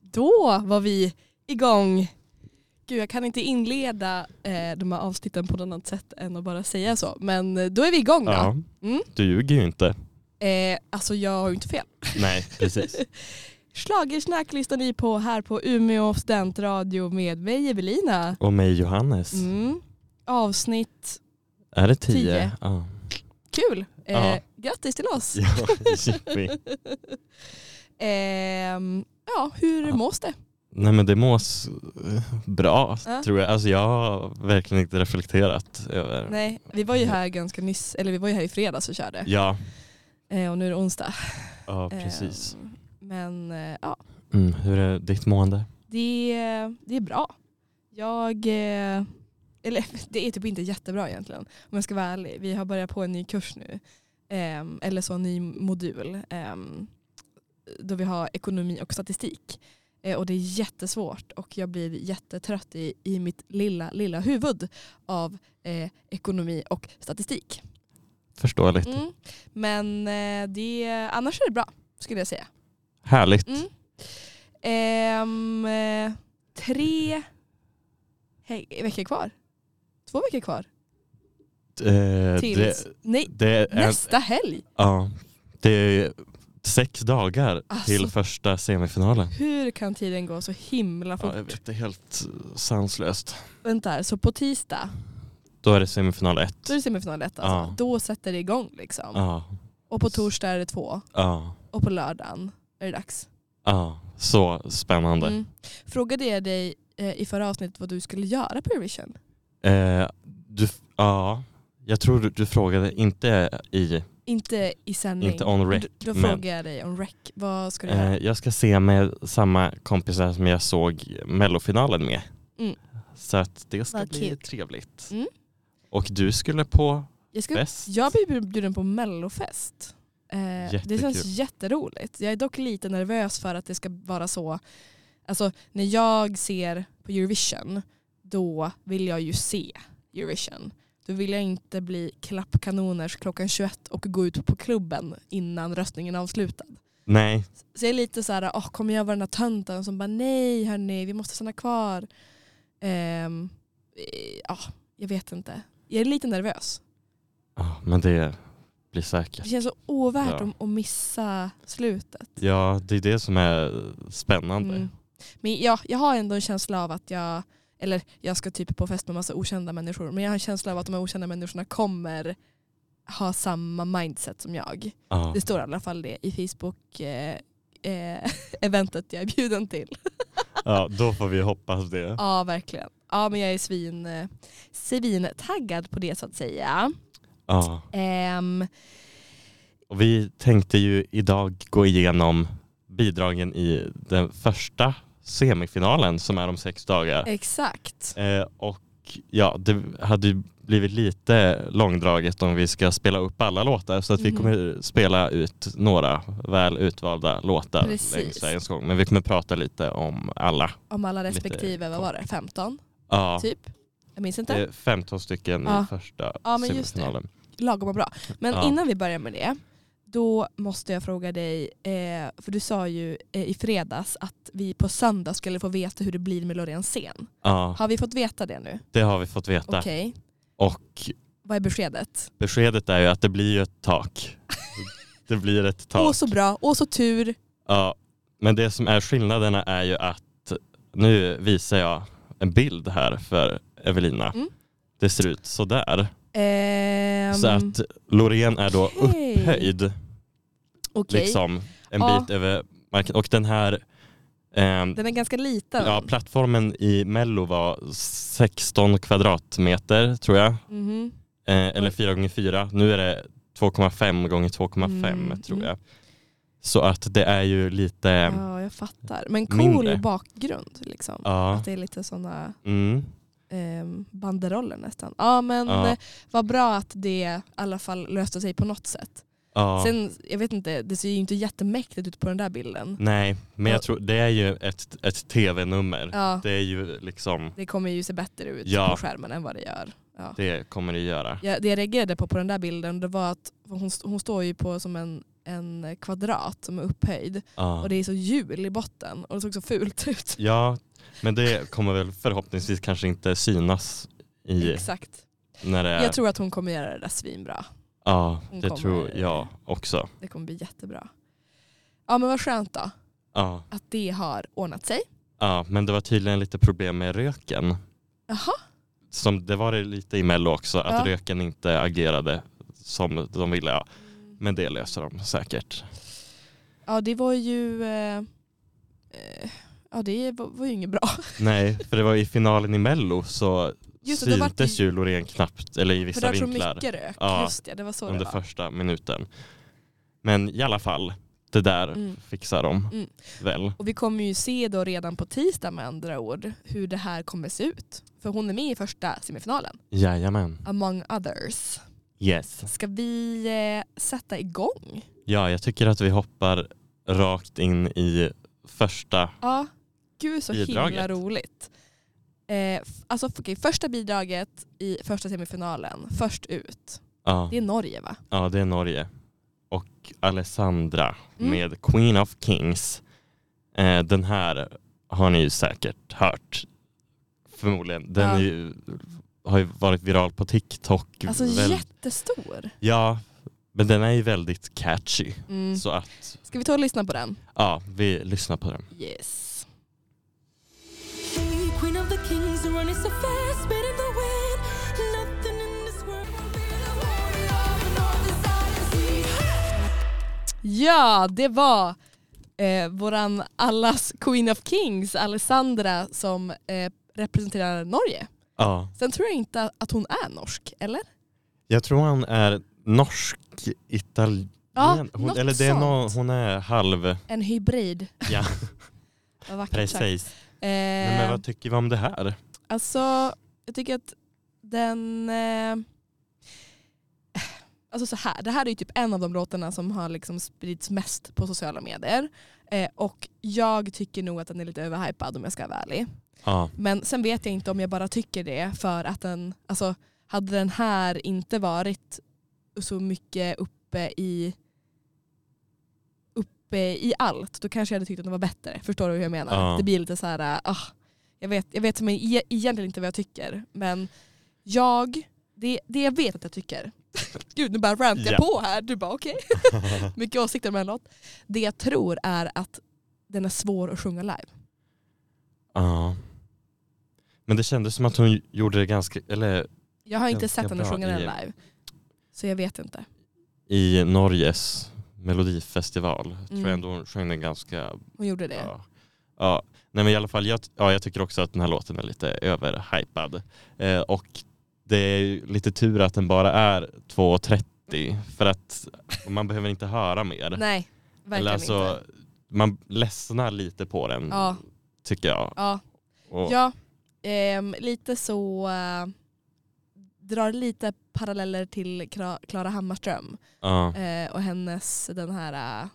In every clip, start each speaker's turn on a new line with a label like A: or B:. A: Då var vi igång. Gud, jag kan inte inleda eh, de här avsnitten på något annat sätt än att bara säga så. Men eh, då är vi igång då.
B: Ja.
A: Mm.
B: Du ljuger ju inte.
A: Eh, alltså jag har ju inte fel.
B: Nej, precis.
A: Schlagersnack lyssnar ni på här på Umeå studentradio med mig Evelina.
B: Och mig Johannes.
A: Mm. Avsnitt
B: Är det tio?
A: Tio.
B: Ja.
A: kul. Eh,
B: Ja.
A: Grattis till oss.
B: Ja, jippi.
A: Ehm, ja, hur
B: Ja.
A: mås det?
B: Nej men det mås eh, bra
A: Ja.
B: tror jag. Alltså jag har verkligen inte reflekterat över.
A: Nej, vi var ju här ganska nyss, eller vi var ju här i fredags och körde.
B: Ja,
A: Eh, och nu är det onsdag.
B: ja precis.
A: Ehm, men eh, ja,
B: Mm, hur är ditt mående?
A: det, det är bra. Jag, eh, eller det är typ inte jättebra egentligen om jag ska vara ärlig. Vi har börjat på en ny kurs nu, ehm, eller så en ny modul, ehm, då vi har ekonomi och statistik. Eh, och det är jättesvårt och jag blir jättetrött i, i mitt lilla, lilla huvud av eh, ekonomi och statistik.
B: Förståeligt.
A: Mm. Men eh, det, annars är det bra skulle jag säga.
B: Härligt.
A: Mm. Ehm, eh, tre he- veckor kvar. Två veckor kvar.
B: Eh,
A: Tills,
B: det,
A: nej,
B: det är,
A: nästa helg.
B: ja, det är sex dagar till
A: Alltså.
B: första semifinalen.
A: Hur kan tiden gå så himla fort?
B: Ja, jag vet, det är helt eh, sanslöst.
A: Vänta här, så på tisdag,
B: Då är det semifinal ett.
A: då är det semifinal ett alltså.
B: Ja.
A: Då sätter det igång liksom.
B: Ja,
A: Och på torsdag är det två.
B: ja.
A: Och på lördagen är det dags.
B: Ja, så spännande.
A: Mm. Frågade jag dig eh, i förra avsnittet vad du skulle göra på Eurovision? Mm.
B: Eh, du, ja, jag tror du, du frågade, inte i,
A: Inte i sändning.
B: inte on rec.
A: Då, då
B: men-
A: frågade jag dig om rec. Vad ska du
B: Eh,
A: göra?
B: jag ska se med samma kompisar som jag såg mellofinalen med.
A: Mm.
B: Så att det ska
A: Vad
B: bli
A: kul.
B: trevligt.
A: Mm.
B: Och du skulle på
A: Jag ska
B: fest?
A: Jag blev bjuden på mellofest. Eh, det
B: Jättekul.
A: känns jätteroligt. Jag är dock lite nervös för att det ska vara så. Alltså när jag ser på Eurovision då vill jag ju se Eurovision. Då vill jag inte bli klappkanoners klockan 21 och gå ut på klubben innan röstningen är avslutad.
B: Nej,
A: Så jag är lite så här, åh, kommer jag vara den här tönten som bara nej hörni, vi måste stanna kvar. Ehm, eh, ja, jag vet inte. Jag är lite nervös.
B: Ja, men det blir säkert.
A: Det känns så ovärt
B: Ja.
A: om att missa slutet.
B: Ja, det är det som är spännande.
A: Mm. Men jag, jag har ändå en känsla av att jag, eller jag ska typ på fest med massa okända människor, men jag har en känsla av att de här okända människorna kommer ha samma mindset som jag.
B: Ja.
A: Det står i alla fall det i Facebook-eventet eh, eh, eventet jag är bjuden till.
B: ja, då får vi hoppas det.
A: Ja, verkligen. Ja, men jag är svin, eh, svin-taggad på det så att säga.
B: Ja.
A: Ehm,
B: Och vi tänkte ju idag gå igenom bidragen i den första semifinalen som är om sex dagar.
A: exakt.
B: Eh, och ja, det hade ju blivit lite långdraget om vi ska spela upp alla låtar så att vi
A: Mhm.
B: kommer spela ut några väl utvalda låtar
A: Precis.
B: längs vägens gång. Men vi kommer prata lite om alla.
A: Om alla
B: Lite
A: respektive, vad var det, 15
B: Ja,
A: typ? Jag minns inte.
B: det är 15 stycken
A: Ja.
B: i första
A: Ja, men just det.
B: semifinalen.
A: lagom och bra. Men
B: Ja.
A: innan vi börjar med det, då måste jag fråga dig, eh, för du sa ju eh, i fredags att vi på söndag skulle få veta hur det blir med Loreen Sen.
B: Ja,
A: Har vi fått veta det nu?
B: det har vi fått veta.
A: Okej,
B: Och
A: vad är beskedet?
B: Beskedet är ju att det blir ju ett tak. Det blir ett
A: Åh
B: tak.
A: så bra, åh så tur.
B: Ja, men det som är skillnaderna är ju att nu visar jag en bild här för Evelina.
A: Mm.
B: Det ser ut sådär.
A: Ehm,
B: Så att Loreen är då
A: okej.
B: upphöjd
A: okej.
B: liksom en
A: Ja.
B: bit över marken. Och den här ehm,
A: Den är ganska liten.
B: ja, plattformen i Mello var 16 kvadratmeter tror jag.
A: Mhm.
B: Eh, eller 4 gånger 4 Nu är det 2,5 gånger 2,5
A: Mm,
B: tror
A: mm.
B: jag. Så att det är ju lite... Ja.
A: Ja, jag fattar. Men cool
B: mindre.
A: bakgrund liksom. Att det är lite sådana
B: mm,
A: ehm, banderoller nästan. Ja men
B: Ja.
A: eh, vad bra att det i alla fall löste sig på något sätt.
B: ja.
A: Sen, jag vet inte, det ser ju inte jättemäktigt ut på den där bilden.
B: Nej, men
A: Ja.
B: jag tror det är ju ett, ett tv-nummer.
A: Ja,
B: Det är ju liksom,
A: det kommer ju se bättre ut
B: Ja.
A: på skärmen än vad det gör. Ja.
B: det kommer det göra.
A: Ja, det jag reagerade på på den där bilden det var att hon, hon står ju på som en, en kvadrat som är upphöjd
B: Ja.
A: och det är så hjul i botten och det såg så fult ut.
B: ja, men det kommer väl förhoppningsvis kanske inte synas i
A: Exakt.
B: när det är...
A: Jag tror att hon kommer göra det där svinbra.
B: ja,
A: hon
B: det
A: kommer-
B: tror jag också.
A: Det kommer bli jättebra. Ja men vad skönt då
B: Ja.
A: att det har ordnat sig.
B: ja, men det var tydligen lite problem med röken.
A: Jaha,
B: Som det var det lite i Mello också, att
A: Ja.
B: röken inte agerade som de ville. Ja. Men det löser de säkert.
A: ja det var ju eh, eh, Ja det var, var ju inget bra.
B: Nej, för det var i finalen i Mello så
A: Just det, då vart det-
B: syntes ju Loreen knappt, eller i
A: För
B: vissa
A: där så
B: vinklar,
A: mycket rök.
B: Ja,
A: Just det, det var så det
B: under
A: var.
B: första minuten. Men i alla fall, det där
A: Mm.
B: fixar de
A: Mm.
B: väl.
A: Och vi kommer ju se då redan på tisdag med andra ord hur det här kommer se ut. För hon är med i första semifinalen,
B: Jajamän.
A: among others.
B: Yes.
A: Ska vi eh, sätta igång?
B: Ja, jag tycker att vi hoppar rakt in i första.
A: Ja, gud så himla
B: Bidraget.
A: roligt. Eh, f- alltså okej, första bidraget i första semifinalen, först ut.
B: Ja,
A: Det är Norge va?
B: ja det är Norge. Och Alessandra
A: Mm.
B: med Queen of Kings. Eh, den här har ni ju säkert hört. Förmodligen. Den
A: Ja.
B: är ju, har ju varit viral på TikTok.
A: Alltså
B: Väl-
A: jättestor.
B: Ja, men den är ju väldigt catchy.
A: Mm.
B: Så att,
A: Ska vi ta och lyssna på den?
B: ja, vi lyssnar på den.
A: Yes.
C: Hey, Queen of the kings, the run is so fast, spin in the wind. Nothing in this world will be the warrior of Northern Silence.
A: Ja, det var eh, våran allas Queen of Kings, Alessandra, som eh, representerar Norge.
B: Ja.
A: Sen tror jag inte att hon är norsk, eller?
B: Jag tror han är norsk, italien.
A: Ja,
B: hon,
A: något
B: eller det är någon,
A: sånt.
B: hon är halv.
A: En hybrid.
B: Ja,
A: Vad vackert sagt.
B: precis.
A: Eh,
B: Nej, men vad tycker vi om det här?
A: Alltså, jag tycker att den... Eh, alltså så här, det här är ju typ en av de låtarna som har liksom spridits mest på sociala medier. Eh, och jag tycker nog att den är lite överhypad om jag ska vara ärlig.
B: Ja,
A: Men sen vet jag inte om jag bara tycker det för att den, alltså hade den här inte varit så mycket uppe i uppe i allt då kanske jag hade tyckt att den var bättre. Förstår du hur jag menar?
B: Ja.
A: Det blir lite så här, äh, ah, jag vet, jag vet som e- egentligen inte vad jag tycker men jag, det, det jag vet att jag tycker, gud nu bara rantar jag
B: Ja.
A: på här, du bara okej. Mycket åsikter om en låt. Det jag tror är att den är svår att sjunga live.
B: ja. Men det kändes som att hon gjorde det ganska, eller
A: Jag har inte
B: Ganska
A: sett henne
B: bra
A: sjunga den
B: i-
A: live. Så jag vet inte.
B: i Norges melodifestival tror
A: Mm.
B: jag ändå hon sjöng den ganska
A: Hon gjorde det.
B: Ja. ja. Nej men i alla fall, jag, ja, jag tycker också att den här låten är lite överhypad. Eh, och det är ju lite tur att den bara är 2.30 för att man behöver inte höra mer.
A: Nej, verkligen
B: alltså,
A: inte.
B: Man ledsnar lite på den
A: Ja,
B: tycker jag.
A: ja.
B: mm. Och,
A: ja ehm, lite så... eh, drar lite paralleller till Kra- Klara Hammarström
B: ja,
A: eh, och hennes den här... eh,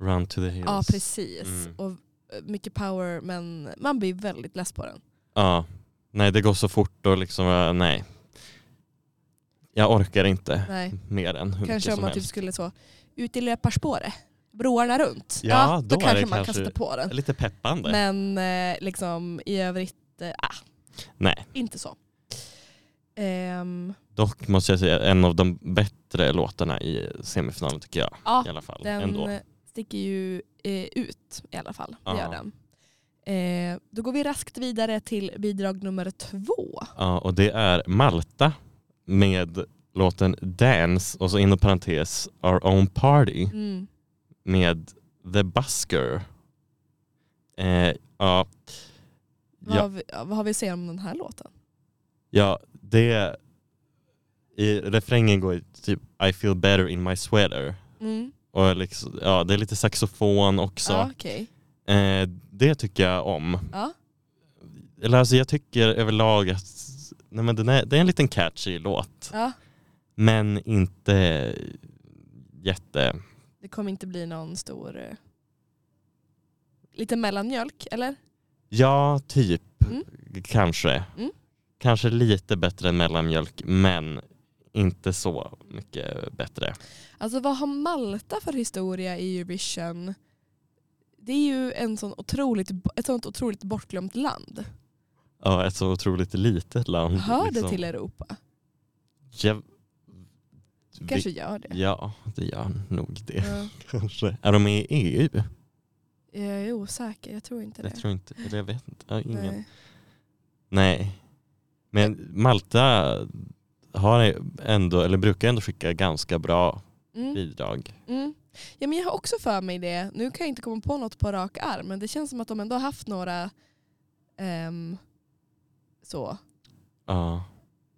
B: Run to the hills.
A: Ja, precis.
B: Mm.
A: Och eh, mycket power men man blir väldigt less på den.
B: Ja. Nej det går så fort och liksom, eh, nej. Jag orkar inte
A: Nej.
B: mer än hur mycket
A: Kanske om
B: som
A: man typ
B: helst.
A: skulle så, ut i löparspåret, broarna runt.
B: Ja,
A: då,
B: då är
A: kanske
B: det
A: man
B: kanske-
A: kan sätta på den.
B: Lite peppande.
A: Men eh, liksom i övrigt, eh, ah,
B: Nej.
A: inte så. Ehm,
B: Dock måste jag säga en av de bättre låtarna i semifinalen tycker jag.
A: ja,
B: I alla fall.
A: den
B: Ändå.
A: sticker ju eh, ut i alla fall. Det
B: Ja.
A: gör den. Eh, då går vi raskt vidare till bidrag nummer två.
B: Ja, och det är Malta med låten Dance och så inom parentes Our Own Party
A: Mm.
B: med The Busker. Eh, ja,
A: Vad,
B: Ja.
A: har vi, ja, vad har vi att säga om den här låten?
B: ja, det... I refrängen går ju typ I feel better in my sweater.
A: Mm.
B: Och liksom, ja, det är lite saxofon också.
A: Ja, Ah, okej.
B: Eh, det tycker jag om.
A: Ja.
B: Eller alltså jag tycker överlag att nej men den är, det är en liten catchy låt.
A: ja,
B: Men inte jätte...
A: det kommer inte bli någon stor... Eh, lite mellanmjölk, eller?
B: Ja, typ.
A: Mm.
B: Kanske.
A: Mm.
B: Kanske lite bättre än mellanmjölk men inte så mycket bättre.
A: Alltså vad har Malta för historia i Eurovision? Det är ju en sån otroligt, ett sånt otroligt bortglömt land.
B: Ja, ett så otroligt litet land.
A: Hör det
B: liksom.
A: till Europa?
B: Jag...
A: Kanske gör det.
B: Ja, det gör nog det.
A: Ja.
B: Kanske. Är de med i EU?
A: Jag är osäker, jag tror inte det.
B: Jag tror inte, eller jag vet inte. Ja, ingen. Nej.
A: Nej.
B: Men Malta har ändå, eller brukar ändå skicka ganska bra
A: Mm.
B: bidrag.
A: Mm. Ja, men jag har också för mig det. Nu kan jag inte komma på något på rak arm men det känns som att de ändå har haft några ehm, så
B: Ja,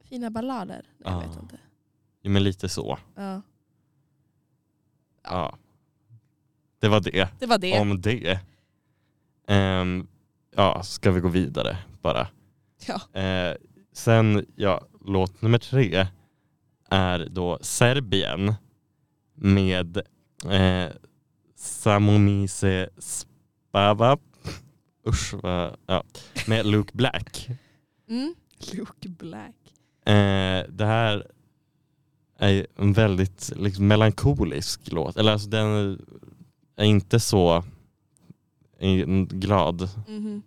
A: fina ballader. Nej, Jag
B: Ja.
A: vet inte.
B: jo, men lite så.
A: Ja.
B: Ja. Det var det,
A: Det var det.
B: om det. Ehm, ja, ska vi gå vidare bara.
A: Ja.
B: Eh, sen, ja, låt nummer tre är då Serbien med eh, Samomise Spava. Usch, vad, ja, med Luke Black.
A: Mm. Luke Black.
B: Eh, det här är ju en väldigt liksom, melankolisk låt. Eller alltså den är inte så eh, glad
A: Mhm.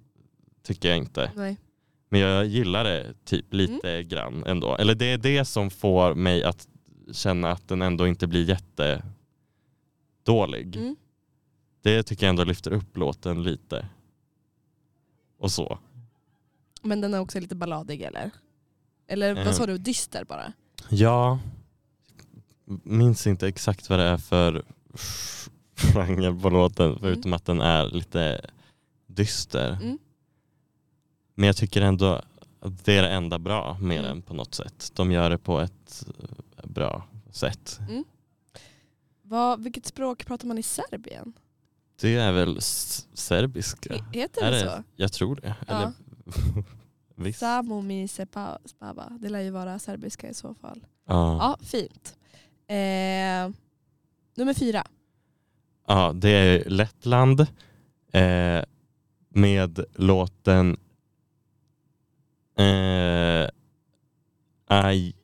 B: tycker jag inte.
A: Nej.
B: Men jag gillar det typ
A: Mm.
B: lite grann ändå. Eller det är det som får mig att känna att den ändå inte blir jättedålig.
A: Mm.
B: Det tycker jag ändå lyfter upp låten lite. Och så.
A: Men den är också lite balladig eller? Eller
B: Eh.
A: vad sa du, dyster bara?
B: Ja, minns inte exakt vad det är för genre på låten förutom att den är lite dyster.
A: Mm.
B: Men jag tycker ändå att det är det enda bra med
A: Mm.
B: den på något sätt. De gör det på ett eh, bra sätt.
A: Vad, vilket språk pratar man i Serbien?
B: Det är väl s- serbiska?
A: He- Heter
B: Är
A: det,
B: det? Jag tror det.
A: Ja.
B: Eller,
A: så?
B: visst.
A: Samo mi se pa- spava. Det lär ju vara serbiska i så fall.
B: Ja.
A: Ja, fint. Eh, nummer fyra.
B: Ja, det är Lettland eh, med låten eh, aj,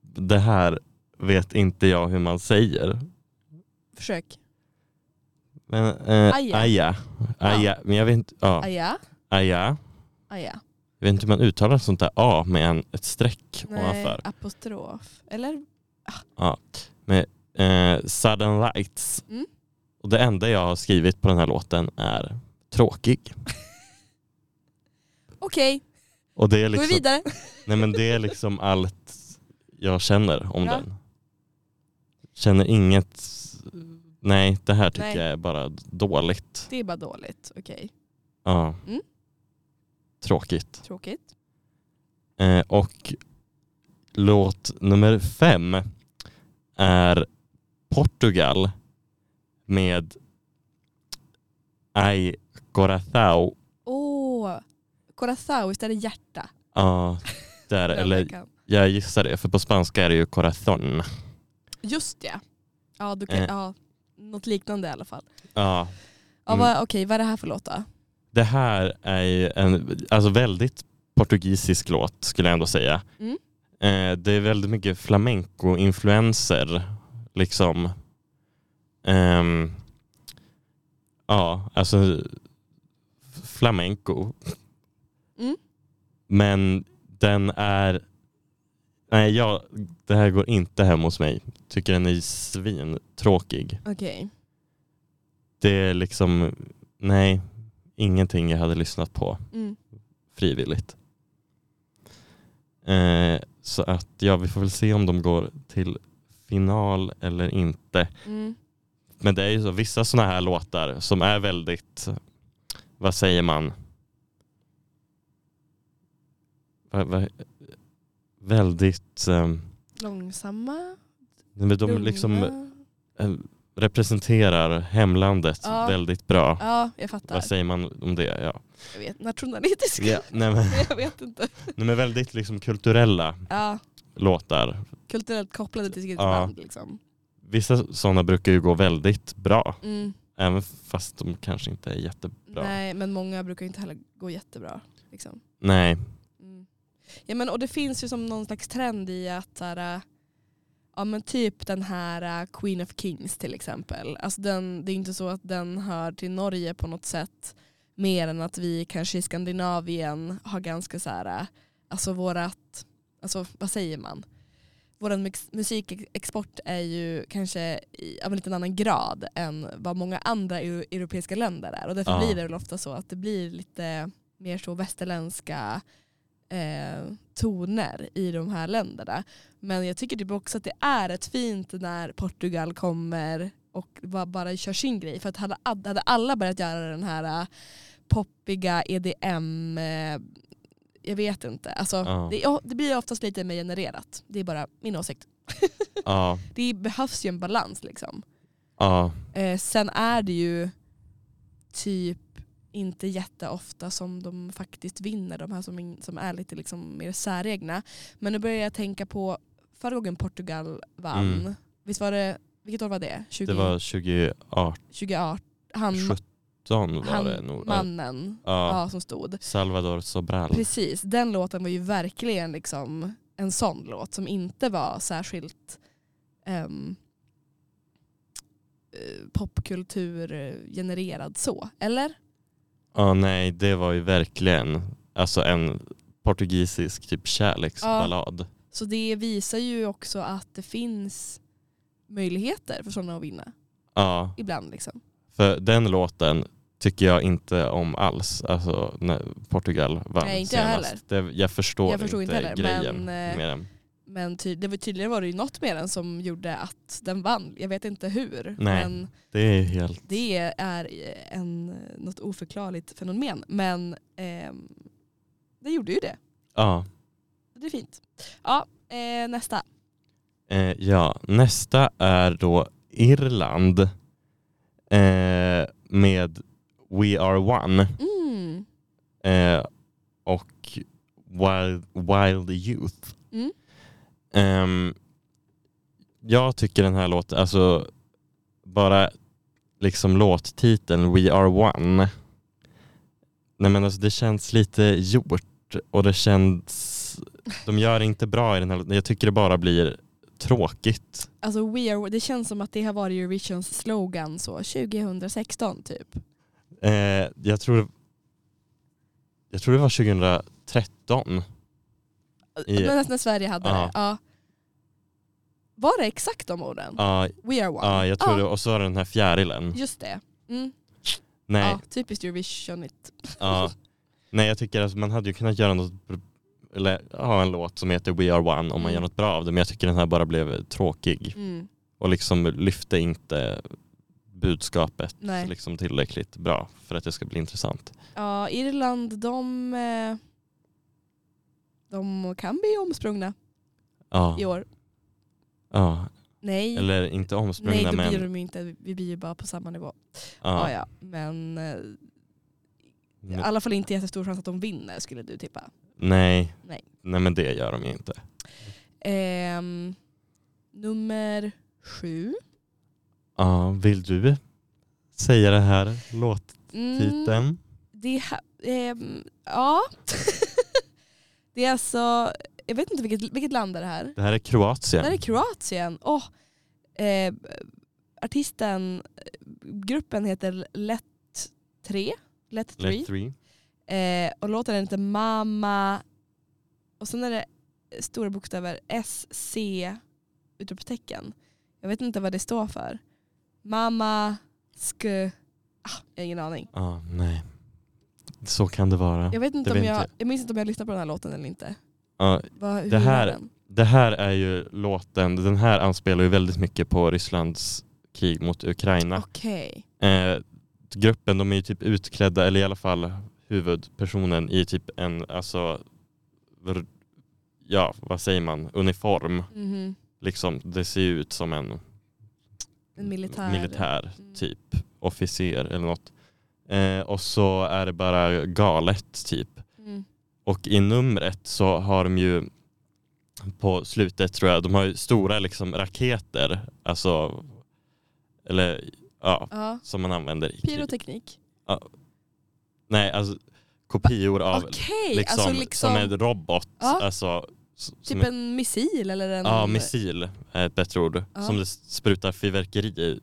B: Det här vet inte jag hur man säger.
A: Försök.
B: Men, eh,
A: Aja.
B: Aja. Aja. Men jag vet inte, ja,
A: Aja.
B: aja.
A: Aja.
B: Jag vet inte hur man uttalar ett sånt där A med en, ett streck
A: Nej,
B: ovanför.
A: apostrof. Eller?
B: Eh, Sudden Lights.
A: Mm.
B: Och det enda jag har skrivit på den här låten är tråkig.
A: Okej,
B: Och det är
A: går vi
B: liksom
A: vidare.
B: Nej men det är liksom allt jag känner om
A: Ja.
B: den. Känner inget, nej det här tycker
A: Nej.
B: jag är bara dåligt.
A: Det är bara dåligt. Okej,
B: Ja.
A: Mm.
B: Tråkigt.
A: tråkigt.
B: Eh, och låt nummer fem är Portugal med Ai Coração.
A: Åh, oh, Corazao istället hjärta.
B: Ja, där,
A: Den
B: eller
A: veckan.
B: jag gissar det för på spanska är det ju Corazón.
A: Just det. Ja, du kan,
B: Eh.
A: ja, något liknande i alla fall.
B: Ja,
A: Ja,
B: Mm.
A: vad, Okej, vad är det här för låt då?
B: Det här är ju en alltså väldigt portugisisk låt skulle jag ändå säga.
A: Mm.
B: Eh, det är väldigt mycket flamenco-influenser. Liksom. Ehm, ja, alltså flamenco.
A: Mm.
B: Men den är... Nej, jag, det här går inte hem hos mig. Tycker den är svintråkig.
A: Okej.
B: Det är liksom... Nej, ingenting jag hade lyssnat på
A: Mm.
B: frivilligt. Eh, så att ja, vi får väl se om de går till final eller inte.
A: Mm.
B: Men det är ju så, vissa sådana här låtar som är väldigt, vad säger man? Va, va, väldigt, ehm,
A: Långsamma,
B: men de
A: lugna.
B: liksom eh, representerar hemlandet
A: Ja.
B: väldigt bra.
A: Ja, jag
B: Vad
A: fattar.
B: säger man om det? Ja.
A: Jag vet, nationalistiska.
B: Nej, men,
A: Jag vet inte.
B: nej, men väldigt liksom kulturella
A: Ja,
B: låtar
A: kulturellt kopplade till sitt
B: Ja.
A: land liksom.
B: Vissa sådana brukar ju gå väldigt bra,
A: Mm.
B: även fast de kanske inte är jättebra. Nej.
A: Nej, men många brukar inte heller gå jättebra. Liksom.
B: Nej.
A: Mm. Ja, men, och det finns ju som någon slags trend i att så här, Ja men typ den här eh, Queen of Kings till exempel. Alltså den, det är inte så att den hör till Norge på något sätt. Mer än att vi kanske i Skandinavien har ganska så här, eh, alltså vårat, alltså vad säger man? Vår mix- musikexport är ju kanske i, av en liten annan grad än vad många andra eu- europeiska länder är. Och därför
B: Ja.
A: blir det väl ofta så att det blir lite mer så västerländska eh, toner i de här länderna. Men jag tycker typ också att det är ett fint när Portugal kommer och ba- bara kör sin grej. För att hade, hade alla börjat göra den här eh, poppiga E EDM, eh, jag vet inte. Alltså,
B: Ja.
A: det, ja, det blir oftast lite mer genererat. Det är bara min åsikt.
B: Ja,
A: Det behövs ju en balans liksom.
B: ja,
A: Eh, sen är det ju typ inte jätteofta som de faktiskt vinner, de här som, in- som är lite liksom mer säregna. Men nu börjar jag tänka på förra gången Portugal vann.
B: Mm.
A: Visst var det, vilket år var det? 20,
B: det var 2018
A: 2018. Han,
B: var
A: han
B: det nog. Ja.
A: mannen
B: Ja.
A: ja, som stod.
B: Salvador Sobral.
A: Precis, den låten var ju verkligen liksom en sån låt som inte var särskilt ehm, eh, popkultur eh, genererad så, eller?
B: Ja, nej, det var ju verkligen alltså en portugisisk typ kärleksballad.
A: Så det visar ju också att det finns möjligheter för sådana att vinna
B: Ja,
A: ibland. Liksom.
B: för den låten tycker jag inte om alls. Alltså när Portugal vann
A: Nej, inte jag
B: senast. Jag, det, jag förstår,
A: Jag förstår
B: inte,
A: inte heller,
B: grejen
A: men, eh,
B: med den.
A: Men ty- det var, tydligen var det ju något med den som gjorde att den vann. Jag vet inte hur.
B: Nej.
A: Men
B: Det är helt...
A: Det är en, något oförklarligt fenomen. Men ehm, det gjorde ju det.
B: Ja.
A: Det är fint. Ja, eh, nästa.
B: Eh, ja, nästa är då Irland eh, med We Are One
A: Mm.
B: eh, och Wild, Wild Youth.
A: Mm.
B: Ehm, jag tycker den här låten, alltså bara liksom låttiteln We Are One. Nej men alltså det känns lite gjort och det känns, de gör det inte bra i den här låten. Jag tycker det bara blir tråkigt.
A: Alltså we are, det känns som att det har varit Eurovisions slogan så 2016 typ.
B: Eh, jag tror jag tror det var 2013. I-
A: Men nästan när Sverige hade
B: Ja.
A: det. Ja. Var det exakt de orden?
B: Ja,
A: We are one.
B: ja, jag tror det. Och så var det den här fjärilen.
A: Just det. Mm.
B: Nej,
A: Ja, typiskt Eurovisionigt.
B: ja. Nej, jag tycker att man hade ju kunnat göra något br- eller ha en låt som heter We Are One om man gör något bra av det. Men jag tycker den här bara blev tråkig
A: Mm.
B: och liksom lyfte inte budskapet
A: Nej.
B: liksom tillräckligt bra för att det ska bli intressant.
A: Ja, Irland de, eh, de kan bli omsprungna i
B: Ja,
A: år.
B: ja.
A: Nej,
B: eller inte
A: Nej
B: omsprungna
A: då blir
B: men
A: de ju inte, vi blir ju bara på samma nivå. Ja.
B: ja,
A: Ja, men eh, i
B: men-
A: alla fall inte jättestor chans att de vinner skulle du tippa.
B: nej.
A: Nej.
B: nej men det gör de ju inte.
A: Ehm, nummer sju.
B: Ja, vill du säga det här låttiteln?
A: Mm, det här, ehm, ja. det är alltså, jag vet inte vilket, vilket land är det här?
B: Det här är Kroatien.
A: Det här är Kroatien. Oh, eh, artisten, eh, gruppen heter Lätt 3. Lätt 3.
B: Let three.
A: Eh, och låten är inte mamma. Och sen är det stora bokstäver SC utropstecken. Jag vet inte vad det står för. Mamma sk... Ah, jag har ingen aning.
B: Ja, nej. Så kan det vara.
A: Jag, vet inte
B: Det
A: om
B: vet
A: jag,
B: jag.
A: jag minns inte om jag lyssnade på den här låten eller inte.
B: Ja,
A: Vad, hur
B: Det här-
A: var den?
B: det här är ju låten, den här anspelar ju väldigt mycket på Rysslands krig mot Ukraina.
A: Okej.
B: Eh, gruppen, de är ju typ utklädda, eller i alla fall huvudpersonen i typ en, alltså, r- ja vad säger man, uniform.
A: Mhm.
B: Liksom, det ser ju ut som en
A: En militär.
B: militär
A: Mm.
B: typ officer eller något. Eh, och så är det bara galet typ.
A: Mm.
B: Och i numret så har de ju på slutet tror jag, de har ju stora liksom raketer, alltså eller ja,
A: Ja.
B: som man använder i krig.
A: Pyroteknik.
B: Nej, alltså kopior av
A: Okej.
B: liksom,
A: alltså liksom,
B: som en robot,
A: Ja.
B: alltså s- som
A: Typ en missil eller en...
B: Ja, missil är ett bättre ord.
A: Ja.
B: Som det sprutar fyrverkeri i,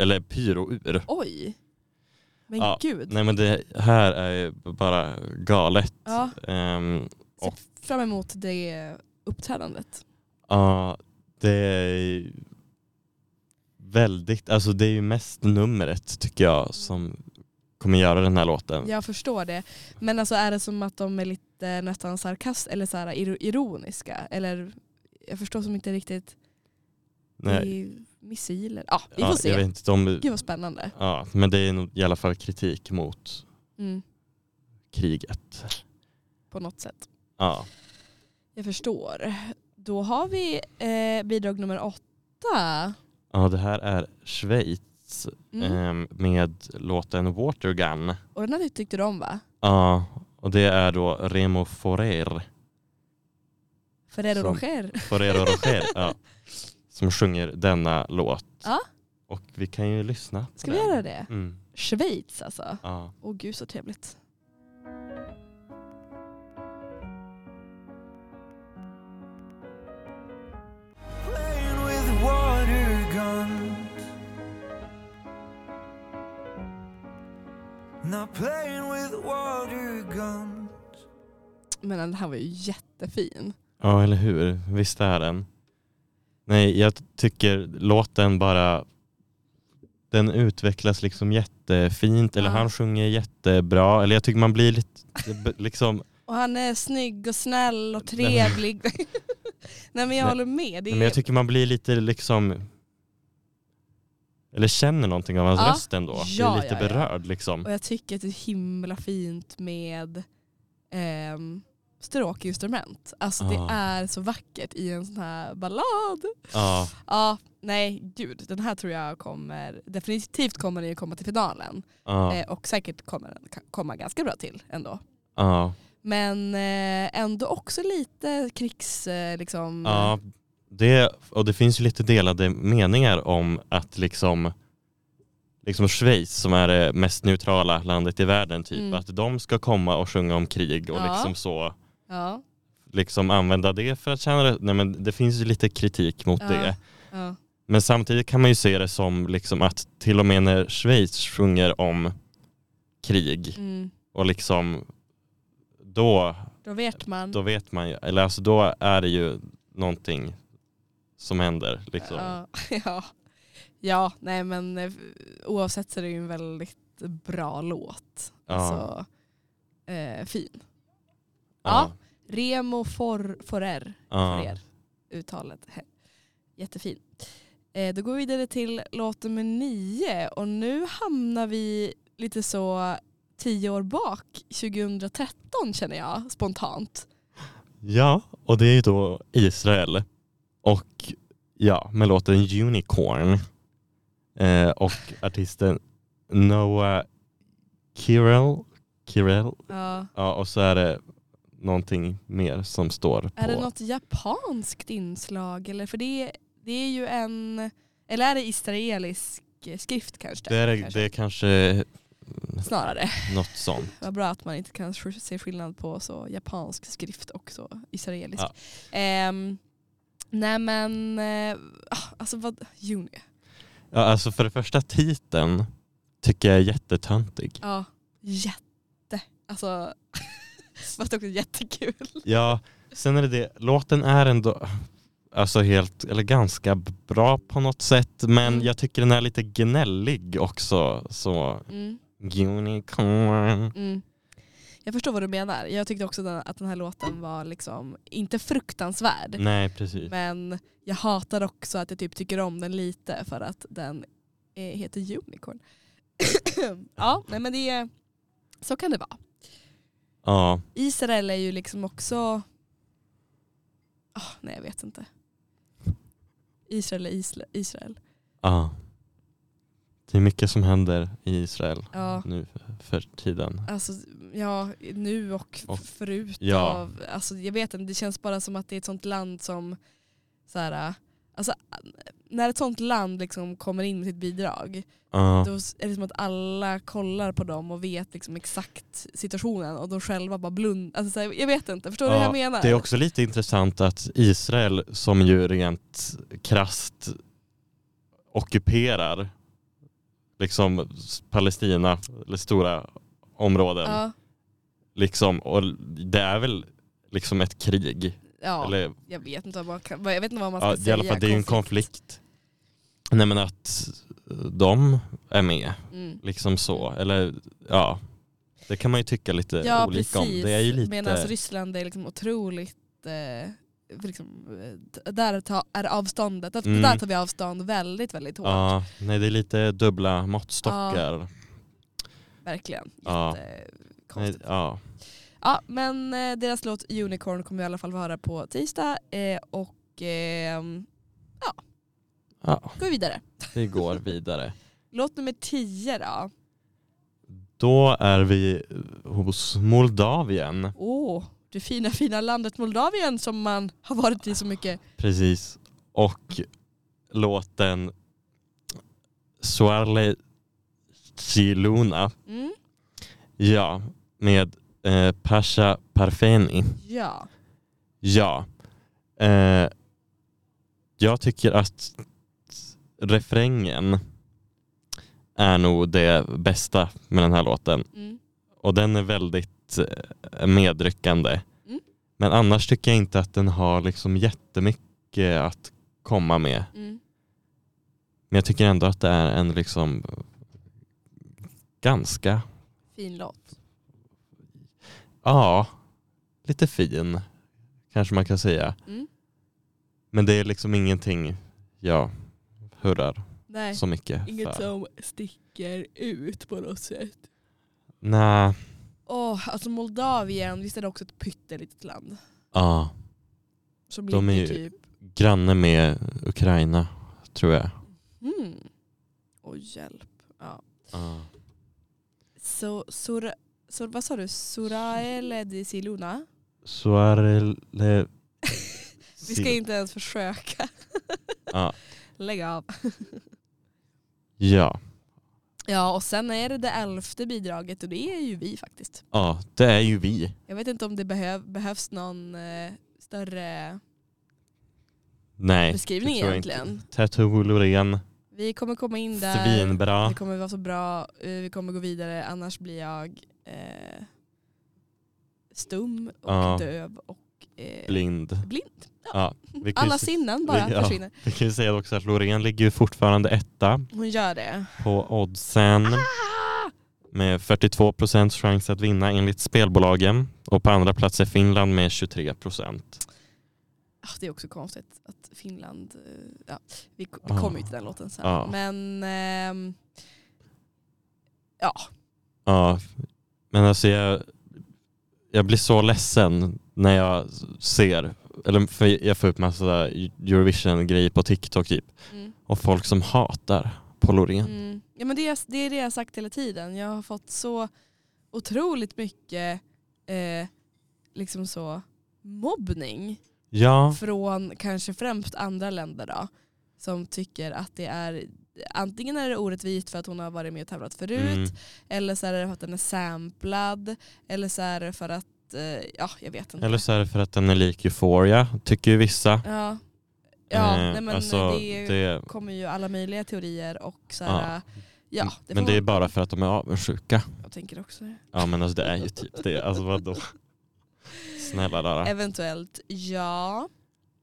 B: eller pyro ur.
A: Oj. Men
B: Ja,
A: gud.
B: Nej men det här är ju bara galet.
A: Ja,
B: Ehm,
A: ser fram emot det uppträdandet.
B: Ja, det är väldigt, alltså det är ju mest numret tycker jag som kommer göra den här låten.
A: Jag förstår det. Men alltså är det som att de är lite nästan sarkast eller så här iro- ironiska? Eller jag förstår som inte riktigt.
B: Nej,
A: Det är missiler. Ja, vi får
B: ja, jag
A: se.
B: vet inte de,
A: Gud vad spännande.
B: ja, men det är nog i alla fall kritik mot
A: Mm,
B: kriget.
A: på något sätt.
B: Ja,
A: Jag förstår. Då har vi eh, bidrag nummer åtta.
B: ja det här är Schweiz
A: Mm.
B: ehm, med låten Watergun.
A: Och den här tyckte du om va?
B: Ja, och det är då Remo Forer,
A: Ferrero
B: Som-
A: Rocher.
B: Forer och Roger, ja, som sjunger denna låt.
A: Ja.
B: Och vi kan ju lyssna. på
A: Ska vi
B: den.
A: göra det?
B: Mm.
A: Schweiz alltså.
B: Ja.
A: Åh gud så trevligt.
D: playing with water guns. Not playing with water guns.
A: Men den här var ju jättefin.
B: ja, eller hur? Visst är den. Nej, jag tycker låten bara den utvecklas liksom jättefint eller
A: Ja.
B: han sjunger jättebra eller jag tycker man blir lite b- liksom
A: Och han är snygg och snäll och trevlig. Nej men jag
B: Nej.
A: håller med. Det är,
B: men jag tycker man blir lite liksom eller känner någonting av hans
A: Ja.
B: röst ändå.
A: Ja,
B: Blir lite
A: ja, ja.
B: berörd liksom.
A: och jag tycker att det är himla fint med ehm, stråkinstrument. Alltså det
B: Ja.
A: är så vackert i en sån här ballad.
B: Ja,
A: Ja, nej gud. Den här tror jag kommer, definitivt kommer den ju komma till finalen.
B: ja,
A: Eh, och säkert kommer den ka- komma ganska bra till ändå.
B: ja,
A: Men eh, ändå också lite krigs... Eh, liksom,
B: ja. Det, och det finns ju lite delade meningar om att liksom liksom Schweiz som är det mest neutrala landet i världen typ
A: Mm.
B: att de ska komma och sjunga om krig och
A: Ja.
B: liksom så
A: ja,
B: liksom använda det för att tjäna nej men det finns ju lite kritik mot
A: Ja.
B: det
A: ja.
B: men samtidigt kan man ju se det som liksom att till och med när Schweiz sjunger om krig
A: Mm.
B: och liksom då
A: Då vet man.
B: då vet man ju eller alltså då är det ju någonting som händer liksom
A: Ja, ja. ja, nej men eh, oavsett så är det ju en väldigt bra låt.
B: Ja.
A: Alltså, eh, fin.
B: ja.
A: Remo for, Forer,
B: ja.
A: Forer uttalet. Jättefin. Eh, då går vi vidare till låt nummer nio och nu hamnar vi lite så tio år bak, 2013 känner jag spontant.
B: Ja, och det är ju då Israel. Och ja, med låten Unicorn. Eh, och artisten Noah Kirel. Kirel.
A: Ja.
B: Ja, och så är det någonting mer som står på.
A: Är det något japanskt inslag? Eller för det, det är ju en... Eller är det israelisk skrift kanske?
B: det, är,
A: kanske?
B: det är kanske
A: Snarare.
B: något sånt.
A: Vad bra att man inte kan sk- se skillnad på så japansk skrift och så israelisk.
B: Ja.
A: Ehm, nej men, eh, ah, alltså vad... Juni.
B: Ja, alltså för det första titeln tycker jag är jättetöntig.
A: Ja, jätte. Alltså, fast också jättekul.
B: Ja, sen är det det, låten är ändå alltså helt, eller ganska bra på något sätt men
A: Mm.
B: jag tycker den är lite gnällig också. Så
A: Mm,
B: unicorn.
A: mm. Jag förstår vad du menar. Jag tyckte också den- att den här låten var liksom, inte fruktansvärd.
B: Nej precis.
A: Men jag hatar också att jag typ tycker om den lite för att den eh, heter Unicorn. ja, nej men det är, så kan det vara.
B: Ja,
A: Israel är ju liksom också... Ah, nej, jag vet inte. Israel är Isla, Israel.
B: ja. Det är mycket som händer i Israel
A: Ja,
B: nu för tiden.
A: alltså, ja, nu och,
B: Och-
A: förut.
B: ja.
A: Av, alltså, jag vet inte, det känns bara som att det är ett sånt land som... Så här, Alltså, när ett sånt land liksom kommer in med sitt bidrag,
B: Ja.
A: då är det som att alla kollar på dem och vet liksom exakt situationen och de själva bara blundar. Alltså, så här, jag vet inte, förstår du vad
B: Ja,
A: jag menar?
B: Det är också lite intressant att Israel som ju rent krasst ockuperar liksom Palestina, eller stora områden.
A: ja,
B: Liksom, och det är väl liksom ett krig.
A: ja,
B: eller,
A: jag vet inte vad man, kan, vad- jag vet inte vad man ska
B: ja,
A: säga.
B: I alla fall det är ju en konflikt. Nej men att eh, de är med,
A: Mm.
B: liksom så. Eller ja, det kan man ju tycka lite
A: Ja
B: olika
A: precis,
B: om. Det är ju lite...
A: medan Ryssland är liksom otroligt eh, Liksom, eh, där ta, är avståndet, att-
B: Mm.
A: där tar vi avstånd väldigt väldigt hårt.
B: Ja, nej det är lite dubbla måttstockar.
A: Verkligen.
B: Ja. Nej,
A: Jättekonstigt.
B: ja.
A: Ja, men eh, deras låt Unicorn kommer i alla fall vara på tisdag eh, och eh,
B: ja,
A: går vi vidare.
B: vi går vidare.
A: Låt nummer 10 då.
B: Då är vi hos Moldavien.
A: Åh, det fina fina landet Moldavien som man har varit i så mycket.
B: Precis. Och låten Soarle Siluna.
A: Mm,
B: Ja, med eh, Pasha Parfeni.
A: ja.
B: Ja. Eh, jag tycker att refrängen är nog det bästa med den här låten.
A: Mm,
B: Och den är väldigt eh, medryckande.
A: Mm.
B: Men annars tycker jag inte att den har liksom jättemycket att komma med.
A: mm,
B: Men jag tycker ändå att det är en liksom ganska,
A: fin låt.
B: ja, lite fin kanske man kan säga.
A: Mm.
B: Men det är liksom ingenting jag hurrar
A: Nej,
B: så mycket
A: inget
B: för.
A: som sticker ut på något sätt.
B: Nej,
A: Åh, alltså Moldavien, visst är det också ett pyttelitet land?
B: ja,
A: Som
B: De är
A: ligger
B: ju-
A: typ...
B: granne med Ukraina tror jag.
A: Mm. Oj, hjälp. Ja.
B: Ja.
A: Så, sur, sur, vad sa du? Suraele di Siluna?
B: Soarle...
A: Vi ska inte ens försöka.
B: Ja.
A: Lägg av.
B: Ja.
A: Ja, och sen är det det elfte bidraget och det är ju vi faktiskt.
B: Ja, det är ju vi.
A: Jag vet inte om det behöv, behövs någon eh, större
B: Nej.
A: beskrivning
B: det tror jag inte.
A: egentligen.
B: Tattoo Loreen,
A: Vi kommer komma in där.
B: svinbra.
A: Det kommer vara så bra. eh, Vi kommer gå vidare. Annars blir jag eh, stum och
B: Ja.
A: döv och eh,
B: Blind.
A: blind.
B: Ja, vi kan ju
A: Alla
B: se-
A: sinnen bara
B: vi- ja.
A: försvinner.
B: Vi kan ju säga också att Loreen ligger ju fortfarande etta
A: Hon gör det.
B: på oddsen
A: Ah!
B: med 42 procents chans att vinna enligt spelbolagen och på andra plats är Finland med 23 procent.
A: Ah, Det är också konstigt att Finland, eh, ja, vi, ko- vi
B: Ja.
A: kommer ju till den låten sen.
B: Ah. Ja.
A: Men ehm,
B: Ja, men alltså jag, jag blir så ledsen när jag ser, eller för jag får upp massa Eurovision-grejer på TikTok typ
A: mm,
B: och folk som hatar på Loreen.
A: mm. ja, men det, är, det är det jag har sagt hela tiden. Jag har fått så otroligt mycket eh, liksom så mobbning
B: Ja,
A: från kanske främst andra länder då, som tycker att det är antingen är det orättvist för att hon har varit med och tävlat förut
B: mm,
A: eller så är det för att den är samplad eller så är det för att eh, ja jag vet inte.
B: eller så är det för att den är lik Euphoria, tycker ju vissa.
A: ja. Ja,
B: Eh,
A: nej men
B: alltså,
A: det är ju-
B: det-
A: kommer ju alla möjliga teorier och så här, ja, det
B: men
A: får
B: det är
A: man-
B: bara för att de är avundsjuka.
A: Jag tänker också det.
B: Ja men alltså det är ju typ det. Alltså vadå? Snälla rara,
A: Eventuellt, ja.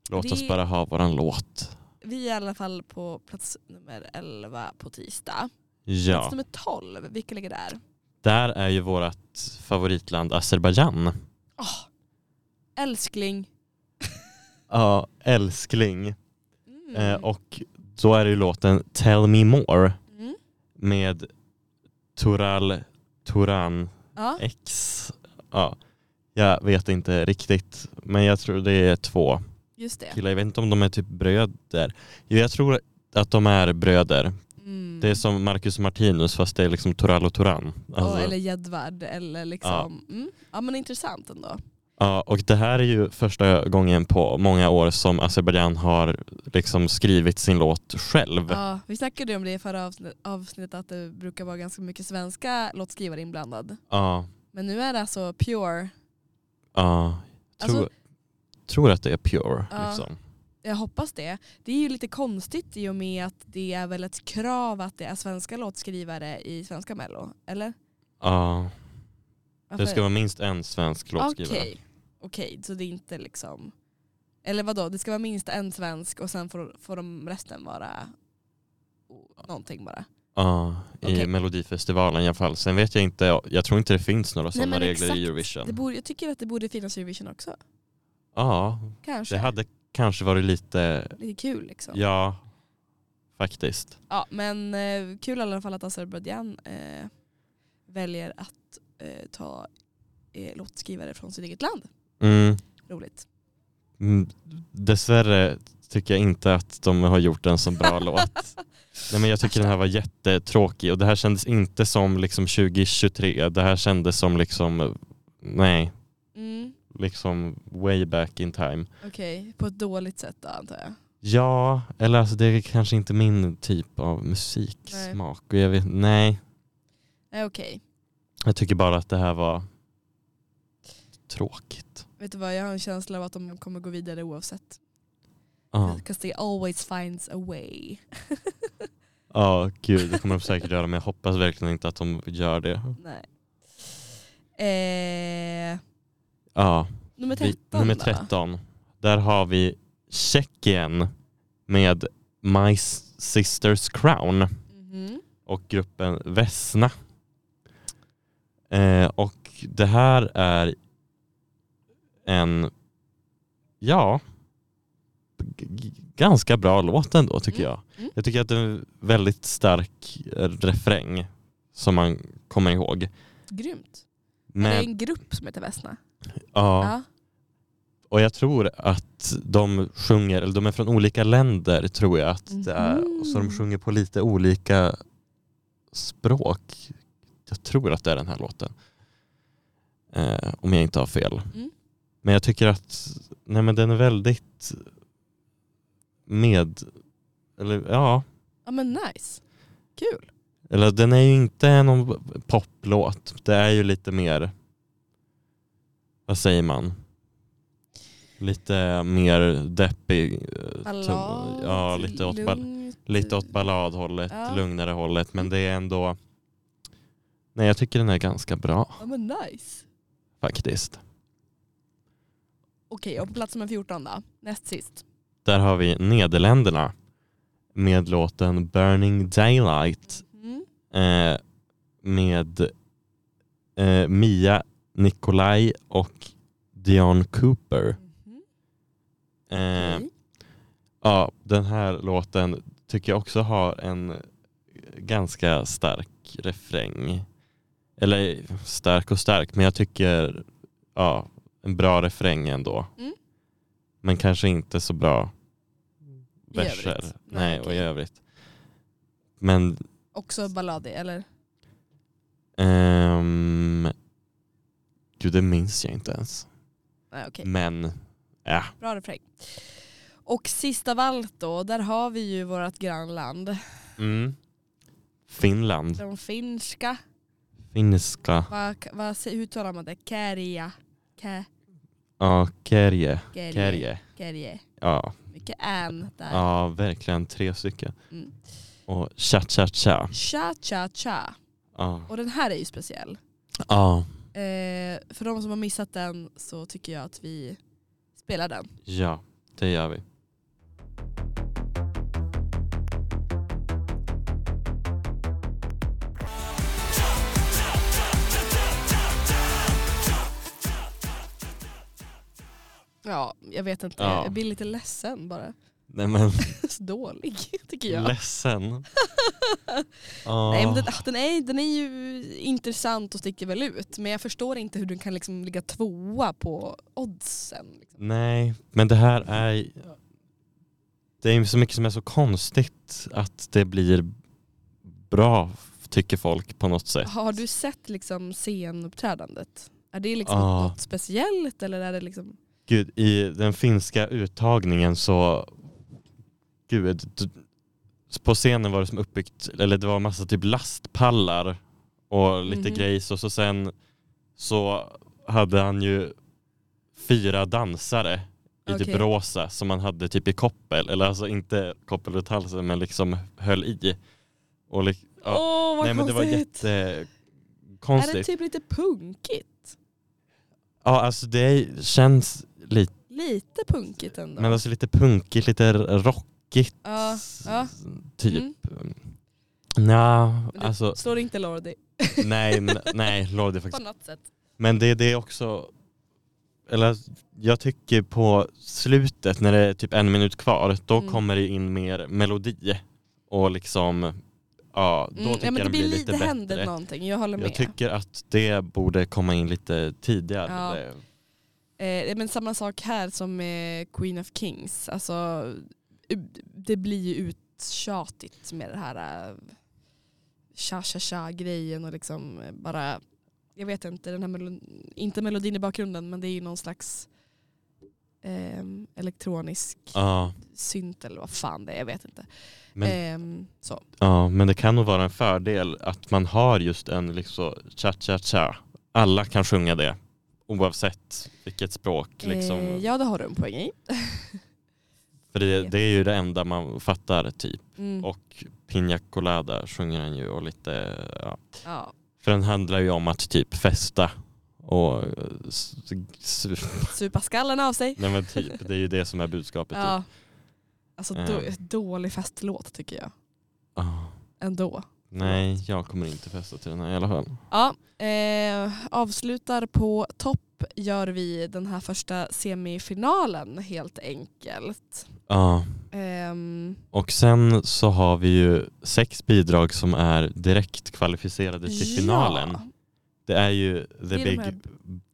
B: låt oss
A: vi-
B: bara ha våran låt.
A: Vi är i alla fall på plats nummer 11 på tisdag. Plats
B: Ja,
A: nummer 12, vilka ligger där?
B: där är ju vårt favoritland Azerbajdzjan.
A: Åh, älskling.
B: Ja, älskling.
A: Mm.
B: Eh, och då är det ju låten Tell Me More
A: Mm.
B: med Tural Turan
A: Ja.
B: X. Ja, jag vet inte riktigt, men jag tror det är två
A: Just det.
B: killar. Jag vet inte om de är typ bröder. Jo, jag tror att de är bröder.
A: Mm.
B: Det är som Marcus Martinus fast det är liksom Toral och Toran.
A: Och-
B: Alltså,
A: eller Jedvard eller liksom. Ja. Mm. ja men intressant ändå.
B: Ja, och det här är ju första gången på många år som Azerbajdzjan har liksom skrivit sin låt själv.
A: Ja, vi snackade ju om det i förra avsn- avsnittet att det brukar vara ganska mycket svenska låtskrivare inblandad.
B: Ja,
A: Men nu är det alltså pure.
B: ja. Tror,
A: Alltså-
B: tror att det är Pure.
A: Ja.
B: Liksom.
A: Jag hoppas det. Det är ju lite konstigt i och med att det är väl ett krav att det är svenska låtskrivare i svenska mello, eller?
B: Ja, det
A: Varför-
B: ska vara minst en svensk låtskrivare.
A: Okej, okej, så det är inte liksom... Eller vadå, det ska vara minst en svensk och sen får, får de resten vara o- någonting bara.
B: Ja, i
A: Okej.
B: Melodifestivalen i alla fall. Sen vet jag inte, jag tror inte det finns några sådana
A: men
B: regler
A: exakt.
B: i Eurovision.
A: Det borde, jag tycker att det borde finnas Eurovision också.
B: Ja,
A: Kanske.
B: det hade kanske varit lite,
A: Lite kul liksom. Ja,
B: ja, faktiskt.
A: men eh, kul i alla fall att Azerbajdzjan eh, väljer att eh, ta eh, låtskrivare från sitt eget land.
B: Mm.
A: Roligt.
B: Mm, Dessvärre tycker jag inte att de har gjort en så bra låt. Nej, men jag tycker den här var jättetråkig och det här kändes inte som liksom 2023. Det här kändes som liksom, nej,
A: Mm,
B: liksom way back in time.
A: Okej, på ett dåligt sätt då antar jag.
B: Ja, eller alltså det är kanske inte min typ av musiksmak. Och jag vet, nej,
A: Nej okej.
B: jag tycker bara att det här var tråkigt.
A: Vet du vad, jag har en känsla av att de kommer gå vidare oavsett.
B: Ja,
A: Because they always finds a way.
B: ja gud, det kommer de säkert göra men jag hoppas verkligen inte att de gör det.
A: Nej. Eh,
B: Ja.
A: nummer 13
B: Vi- nummer
A: då.
B: 13. Där har vi Tjeckien med My S- Sister's Crown
A: Mhm.
B: och gruppen Vesna. Eh, och det här är en, ja, g- g- ganska bra låt ändå tycker
A: Mm.
B: jag.
A: Mm.
B: Jag tycker att det är en väldigt stark eh, refräng som man kommer ihåg.
A: Grymt. Men... Det är
B: Men,
A: en grupp som heter Vesna.
B: ja.
A: Ja.
B: Och jag tror att de sjunger, eller de är från olika länder tror jag att det är.
A: Mhm.
B: Så de sjunger på lite olika språk. Jag tror att det är den här låten. Eh, om jag inte har fel.
A: Mm.
B: Men jag tycker att nej men den är väldigt med, eller ja,
A: ja men nice. Kul.
B: eller den är ju inte någon poplåt. Det är ju lite mer, vad säger man? Lite mer deppig. eh,
A: Ballad.
B: tung- Ja, lite åt, ball,
A: lugnt.
B: lite åt balladhållet,
A: Ja.
B: lugnare hållet. Men det är ändå, nej jag tycker den är ganska bra
A: Ja men nice.
B: faktiskt.
A: Okej och på plats nummer 14 då. Näst sist.
B: Där har vi Nederländerna med låten Burning Daylight
A: Mm.
B: eh, med eh, Mia Nikolaj och Dion Cooper.
A: Mhm.
B: Eh,
A: Okej.
B: ja, den här låten tycker jag också har en ganska stark refräng. Eller stark och stark, men jag tycker ja, en bra refräng ändå.
A: Mm.
B: Men kanske inte så bra
A: I
B: verser.
A: övrigt.
B: Nej,
A: Nej,
B: och i
A: okej.
B: övrigt. Men
A: Också balladig eller?
B: Ehm, gud, det minns jag inte ens.
A: Nej okej.
B: Men, ja.
A: Bra refräng. Och sist av allt då, där har vi ju vårt grannland.
B: Mm. Finland.
A: De finska,
B: Finska.
A: vad, vad, se- hur uttalar man det? Kärja. Kä-
B: Ja, Kerje.
A: Kärje.
B: Kerje.
A: Kärje.
B: Ja.
A: Mycket än där.
B: ja, verkligen tre stycken.
A: Mm.
B: Och cha cha cha.
A: Cha cha cha.
B: Ja.
A: Och den här är ju speciell.
B: Ja.
A: Eh, för de som har missat den så tycker jag att vi spelar den.
B: Ja, det gör vi.
A: Ja, jag vet inte.
B: Ja.
A: Jag blir lite ledsen bara.
B: Nej men,
A: Så dålig tycker jag.
B: ledsen. Ja.
A: Nej, men den, ah, den, är, den är ju intressant och sticker väl ut men jag förstår inte hur den kan liksom ligga tvåa på oddsen. Liksom.
B: Nej, men det här är... Det är ju så mycket som är så konstigt att det blir bra, tycker folk på något sätt.
A: Har du sett liksom scenuppträdandet? Är det liksom
B: Ah.
A: något speciellt eller är det liksom...
B: Gud, i den finska uttagningen så, gud, d- på scenen var det som uppbyggt, eller det var massa typ lastpallar och lite
A: Mhm.
B: grejs och så sen så hade han ju fyra dansare i
A: Okej.
B: typ rosa som han hade typ i koppel, eller alltså inte koppel runt halsen men liksom höll i. Och li-
A: Åh
B: ja.
A: vad
B: Nej men det var
A: konstigt!
B: jättekonstigt.
A: är det typ lite punkigt?
B: Ja alltså det känns lite
A: Lite punkigt ändå.
B: Men alltså lite punkigt, lite rockigt
A: ja, ja.
B: typ.
A: Mm.
B: Nja,
A: Men det-
B: alltså
A: Slår inte Lordi
B: nej, men- nej, Lordi
A: på
B: faktiskt.
A: något sätt?
B: Men det, det är också, eller jag tycker på slutet när det är typ en minut kvar, då
A: Mm.
B: kommer det in mer melodi och liksom, ja, då
A: Mm,
B: tycker
A: ja, men
B: jag
A: det
B: den blir lite
A: det händer
B: bättre.
A: någonting, jag håller med.
B: Jag tycker att det borde komma in lite tidigare.
A: Ja.
B: Det-
A: Eh, men samma sak här som med Queen of Kings. Alltså, u- det blir ju uttjatigt med det här eh, cha-cha-cha-grejen och liksom eh, bara, jag vet inte, den här melo- inte melodin i bakgrunden men det är ju någon slags ehm, elektronisk
B: Ja,
A: synt eller vad fan det är, jag vet inte.
B: men
A: Ehm, så.
B: Ja, men det kan nog vara en fördel att man har just en liksom cha-cha-cha. Alla kan sjunga det, oavsett vilket språk. Liksom.
A: Eh, ja det har du en poäng i.
B: För det, det är ju det enda man fattar typ.
A: Mm.
B: Och Pina Colada sjunger han ju och lite, ja.
A: Ja.
B: För den handlar ju om att typ festa och eh, s- s-
A: Supa skallen av sig.
B: Nej men typ, det är ju det som är budskapet. Typ.
A: Ja. Alltså då,
B: Ehm.
A: dålig festlåt tycker jag.
B: Ah,
A: Ändå.
B: Nej, jag kommer inte festa till den här i alla fall.
A: Ja, eh, avslutar på topp gör vi den här första semifinalen helt enkelt.
B: Ja.
A: Ehm,
B: Och sen så har vi ju sex bidrag som är direkt kvalificerade till typ finalen. Det är ju the,
A: är de
B: big,
A: här-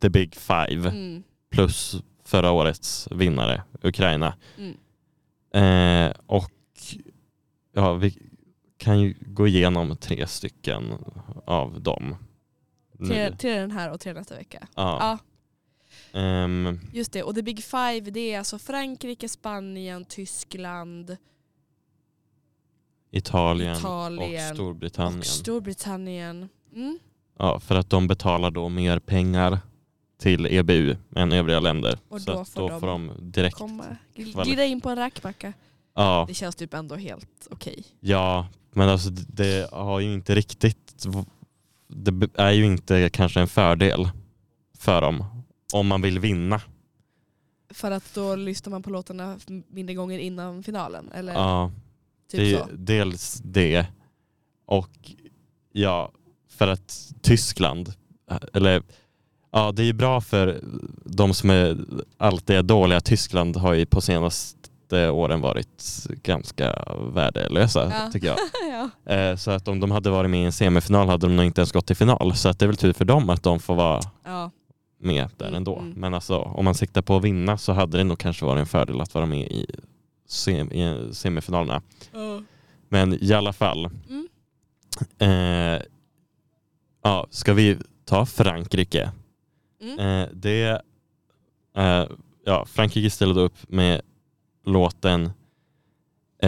B: the big five
A: Ja. Mm,
B: plus förra årets vinnare Ukraina.
A: mm.
B: Eh, och ja, vi kan ju gå igenom tre stycken av dem. nu.
A: Till, till den här och till nästa vecka.
B: Ja.
A: Ja,
B: Ehm,
A: just det. Och the big five det är alltså Frankrike, Spanien, Tyskland,
B: Italien,
A: Italien
B: och Storbritannien.
A: och Storbritannien. Mm.
B: ja, för att de betalar då mer pengar till EBU än övriga länder.
A: Och
B: så
A: då
B: att
A: får
B: då
A: de
B: får de direkt
A: Komma,
B: Kvali-
A: glida in på en rackbacka.
B: Ja,
A: Det känns typ ändå helt okej.
B: ja, men alltså det- det har ju inte riktigt, det b- är ju inte kanske en fördel för dem om man vill vinna.
A: För att då lyssnar man på låtarna mindre gånger innan finalen. Eller
B: Ja,
A: typ
B: det
A: så.
B: är ju dels det och ja, för att Tyskland, eh, eller ja det är ju bra för de som är, alltid är dåliga. Tyskland har ju på senaste åren varit ganska värdelösa
A: Ja.
B: tycker jag.
A: ja.
B: Eh, Så att om de hade varit med i en semifinal hade de nog inte ens gått till final. Så att det är väl tur för dem att de får vara
A: Ja.
B: med där
A: Mm,
B: ändå.
A: mm.
B: Men alltså, om man siktar på att vinna så hade det nog kanske varit en fördel att vara med i, sem- i semifinalerna. Men i alla fall.
A: Mm.
B: Eh, ja, ska vi ta Frankrike?
A: Mm.
B: Eh, det, eh, ja, Frankrike ställde upp med låten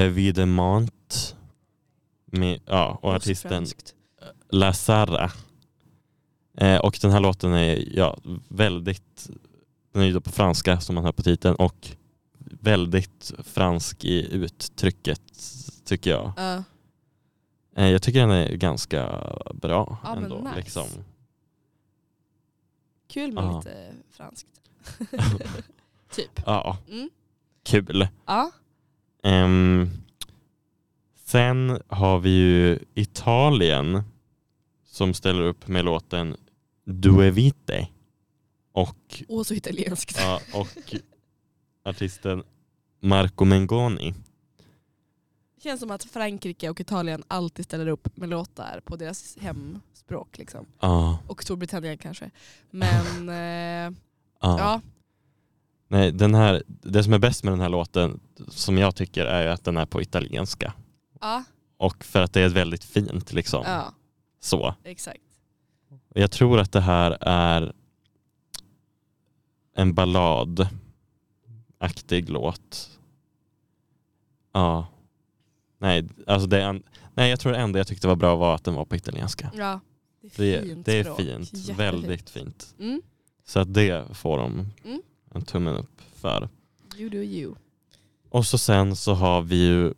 B: Evidemment med, ja, och artisten
A: Franskt.
B: La Sara. Eh, och den här låten är ja, väldigt, den är ju då på franska som man hör på titeln och väldigt fransk i uttrycket tycker jag.
A: Ja.
B: Eh, jag tycker den är ganska bra
A: Ja, men
B: ändå.
A: nice.
B: Liksom.
A: kul med
B: Ja.
A: lite franskt. typ.
B: Ja,
A: Mm.
B: kul.
A: Ja.
B: Ehm, sen har vi ju Italien som ställer upp med låten Due Vite och
A: Och så italienskt.
B: Ja, och artisten Marco Mengoni.
A: Det känns som att Frankrike och Italien alltid ställer upp med låtar på deras hemspråk. Liksom.
B: Ja,
A: Och Storbritannien kanske. Men eh,
B: ja.
A: ja.
B: Nej, den här, det som är bäst med den här låten som jag tycker är ju att den är på italienska.
A: Ja.
B: Och för att det är väldigt fint liksom.
A: ja,
B: Så.
A: exakt.
B: Jag tror att det här är en balladaktig låt. Ja. Nej, alltså det, en- nej, jag tror det enda jag tyckte var bra var att den var på italienska.
A: Ja, det är
B: Det,
A: Mm. fint
B: det är
A: språk.
B: fint,
A: Jättefint.
B: väldigt fint.
A: Mm.
B: Så att det får de
A: Mm.
B: en tummen upp för.
A: You do you.
B: Och så sen så har vi ju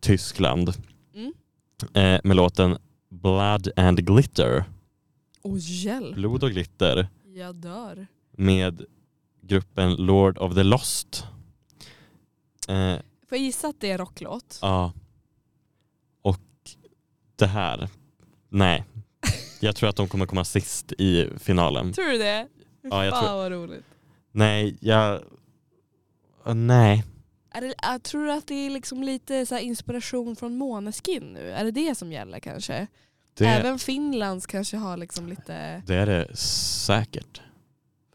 B: Tyskland
A: Mm.
B: eh, med låten Blood and Glitter.
A: Och hjälp,
B: Blod och glitter
A: jag dör.
B: med gruppen Lord of the Lost. Eh,
A: Får jag gissa att det är en rocklåt?
B: ja. Och det här. Nej. Jag tror att de kommer komma sist i finalen.
A: Tror du det?
B: Ja, jag
A: Typ. Fan
B: tror-
A: vad roligt.
B: Nej, jag... Äh, Nej.
A: Är det, jag tror du att det är liksom lite så här inspiration från Måneskin nu? Är det det som gäller kanske?
B: Det,
A: Även Finlands kanske har liksom lite...
B: det är det säkert.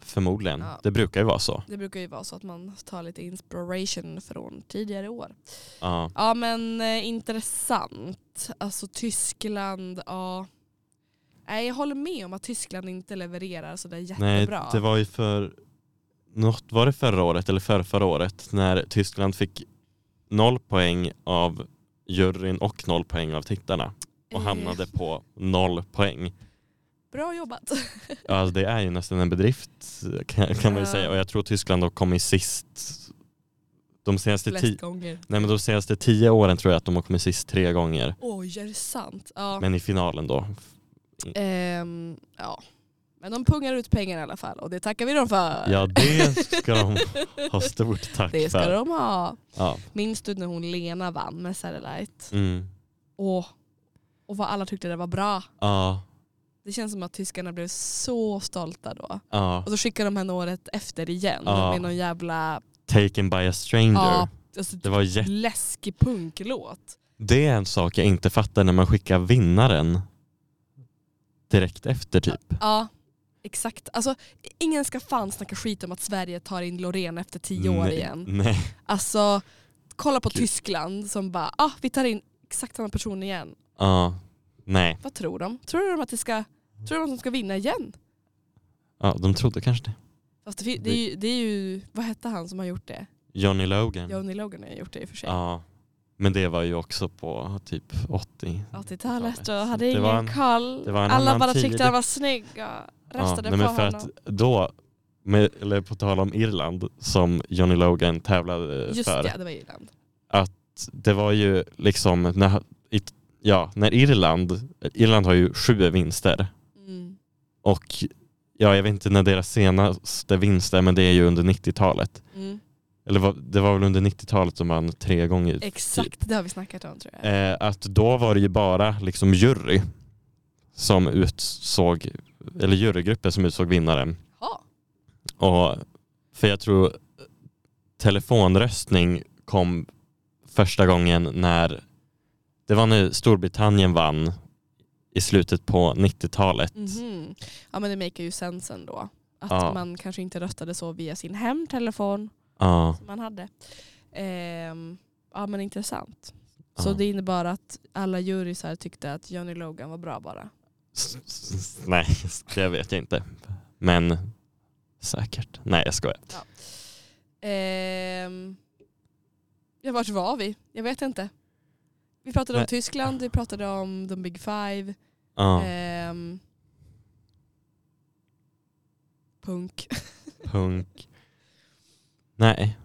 B: Förmodligen.
A: Ja.
B: Det brukar ju vara så.
A: Det brukar ju vara så att man tar lite inspiration från tidigare år.
B: Ja.
A: Ja men eh, intressant. Alltså Tyskland, ja. Nej jag håller med om att Tyskland inte levererar sådär
B: Nej,
A: jättebra.
B: det var ju för något var det förra året eller förra, förra året när Tyskland fick noll poäng av juryn och noll poäng av tittarna och
A: Eh,
B: hamnade på noll poäng.
A: Bra jobbat.
B: Ja, Alltså, det är ju nästan en bedrift kan, kan man ju
A: Ja.
B: säga och jag tror Tyskland har kommit sist de senaste, ti-
A: Flest gånger.
B: nej, men de senaste tio åren tror jag att de har kommit sist tre gånger
A: Oj, är det sant? Ja.
B: men i finalen då.
A: Ehm, ja. Men de pungar ut pengar i alla fall och det tackar vi dem för.
B: Ja det ska de ha stort tack
A: Det ska
B: för.
A: de ha.
B: Ja.
A: Minns du när hon Lena vann med Satellite?
B: Mm.
A: Åh, och vad alla tyckte det var bra.
B: Ja,
A: Det känns som att tyskarna blev så stolta då.
B: ja.
A: Och så skickade de henne året efter igen
B: Ja.
A: med någon jävla
B: Taken by a stranger.
A: ja, alltså,
B: Det var jätte...
A: läskig punklåt.
B: Det är en sak jag inte fattar när man skickar vinnaren direkt efter typ.
A: Ja, exakt. Alltså, ingen ska fan snacka skit om att Sverige tar in Loreen efter tio år
B: nej,
A: igen.
B: Nej.
A: Alltså, kolla på
B: Gud.
A: Tyskland som bara, ah, vi tar in exakt samma person igen.
B: Ja. Nej.
A: Vad tror de? Tror de att det ska, tror de att de ska vinna igen?
B: Ja, de trodde kanske det.
A: Fast det, fin- det, är ju, det är ju, vad hette han som har gjort det?
B: Johnny Logan.
A: Johnny Logan har ju gjort det i och för sig.
B: Mm. ja. Men det var ju också på typ 80.
A: 80-talet och
B: Så
A: hade
B: det
A: ingen
B: var en-
A: koll.
B: det var en
A: Alla
B: annan
A: bara
B: tid.
A: tyckte han var snygg och röstade
B: nej,
A: på
B: men för
A: honom.
B: att då, med, eller på tal om Irland som Johnny Logan tävlade
A: Just
B: eh, för.
A: det, det var Irland.
B: det var ju liksom när, i- ja, när Irland, Irland har ju sju vinster
A: Mm.
B: och ja, jag vet inte när deras senaste vinst är men det är ju under 90-talet.
A: Mm.
B: Eller vad- det var väl under 90-talet som man tre gånger.
A: Exakt, det har vi snackat om tror jag.
B: Typ. Eh, att då var det ju bara liksom jury som utsåg, eller jurygruppen som utsåg vinnaren.
A: Ja.
B: Och, för jag tror telefonröstning kom första gången när det var när Storbritannien vann i slutet på 90-talet.
A: Mhm. Ja men det maker ju sense ändå. Att
B: Ja.
A: man kanske inte röstade så via sin hemtelefon
B: Ja,
A: som Typ, man hade. Ehm, ja men intressant. Så
B: ja.
A: det innebar att alla jurysar tyckte att Johnny Logan var bra bara.
B: S- s- s- Nej, det vet jag inte. Men säkert. Nej, jag skojar.
A: Ehm, ja, vart var vi? Jag vet inte. Vi pratade om
B: Nej.
A: Tyskland, vi pratade om de big five.
B: Ja,
A: ehm, punk.
B: punk. Nej.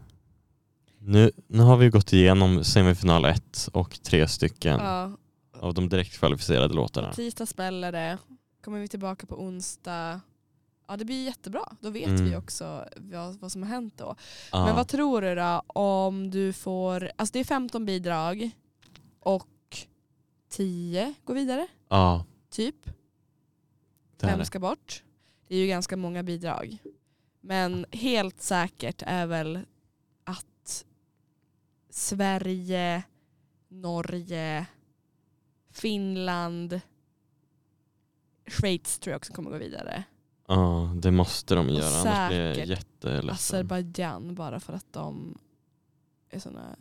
B: Nu, nu har vi gått igenom semifinal 1 och tre stycken
A: Ja.
B: av de direktkvalificerade låtarna.
A: Tisdag smäller det. Kommer vi tillbaka på onsdag. Ja det blir jättebra. Då vet
B: Mm.
A: vi också vad, vad som har hänt då.
B: Ja.
A: Men vad tror du då om du får, alltså det är 15 bidrag och 10 går vidare
B: Ja,
A: typ.
B: det är
A: Vem
B: det.
A: ska bort? Det är ju ganska många bidrag. Men helt säkert är väl att Sverige, Norge, Finland, Schweiz tror jag också kommer gå vidare.
B: Ja, det måste de göra. Annars blir jag
A: säkert
B: jätteledsen.
A: Azerbajdzjan bara för att de är såna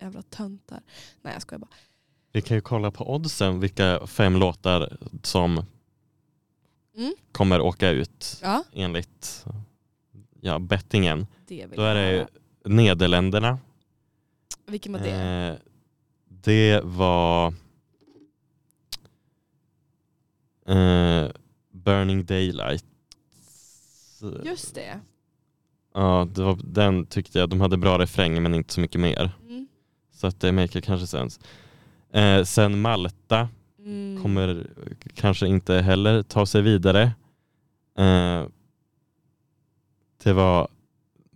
A: jävla töntar. Nej jag skojar bara.
B: Vi kan ju kolla på oddsen vilka fem låtar som
A: Mm.
B: kommer åka ut
A: Ja,
B: enligt ja, bettingen.
A: Det vill
B: Då är
A: jag
B: det
A: höra.
B: Nederländerna.
A: Vilken var det?
B: Eh, det var eh, Burning Daylight.
A: Just det.
B: Ja, det var, den tyckte jag. De hade bra refräng men inte så mycket mer.
A: Mm.
B: Så att det maker kanske sens. Eh, sen Malta
A: Mm.
B: kommer eh, kanske inte heller ta sig vidare. Eh, det var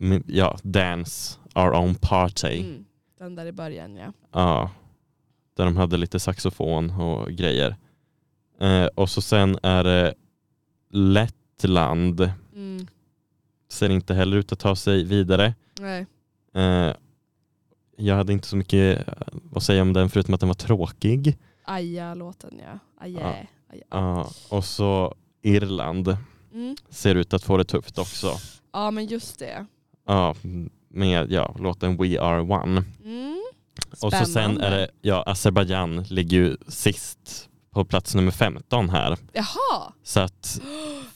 B: mm, ja, Dance, Our Own Party.
A: Mm. Den där i början ja.
B: Ja, där de hade lite saxofon och grejer. Eh, och så sen är det Lettland.
A: Mm.
B: Ser inte heller ut att ta sig vidare.
A: Nej.
B: Eh, jag hade inte så mycket eh, att säga om den förutom att den var tråkig.
A: Aja-låten ja. Aja.
B: Ja.
A: Aja.
B: Ja, och så Irland
A: Mm.
B: ser ut att få det tufft också.
A: ja men just det.
B: Ja, med ja, låten We Are One.
A: Mm.
B: Och så sen är det, ja, Azerbajdzjan ligger ju sist på plats nummer 15 här.
A: Jaha!
B: Så att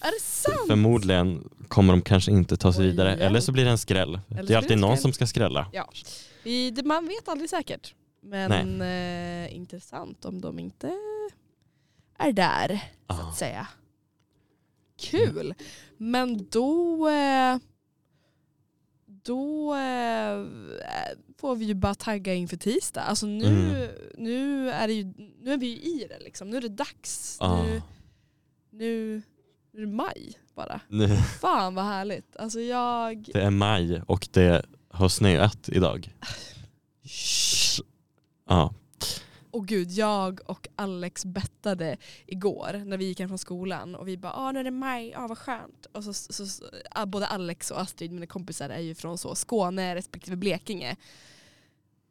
A: Är det sant?
B: förmodligen kommer de kanske inte ta sig
A: Oj,
B: vidare.
A: ja.
B: Eller så blir det en skräll.
A: så
B: Det
A: blir
B: är
A: det
B: alltid
A: en
B: någon
A: skräll.
B: som ska skrälla.
A: Ja. Vi, det, man vet aldrig säkert. Men eh, intressant om de inte är där.
B: Ja.
A: säga. Kul! Men då, eh, då eh, får vi ju bara tagga inför tisdag. Alltså nu,
B: Mm.
A: nu, är, det ju, nu är vi ju i det liksom. Nu är det dags.
B: Ja.
A: Nu, nu, nu är det maj bara.
B: Nu-
A: Fan vad härligt. Alltså jag...
B: Det är maj och det har snöat idag. Ja.
A: Och gud, jag och Alex bettade igår när vi gick hem från skolan och vi bara ah, nu är det maj, ah, vad skönt. Och så, så, så, ah, både Alex och Astrid, mina kompisar, är ju från så Skåne respektive Blekinge.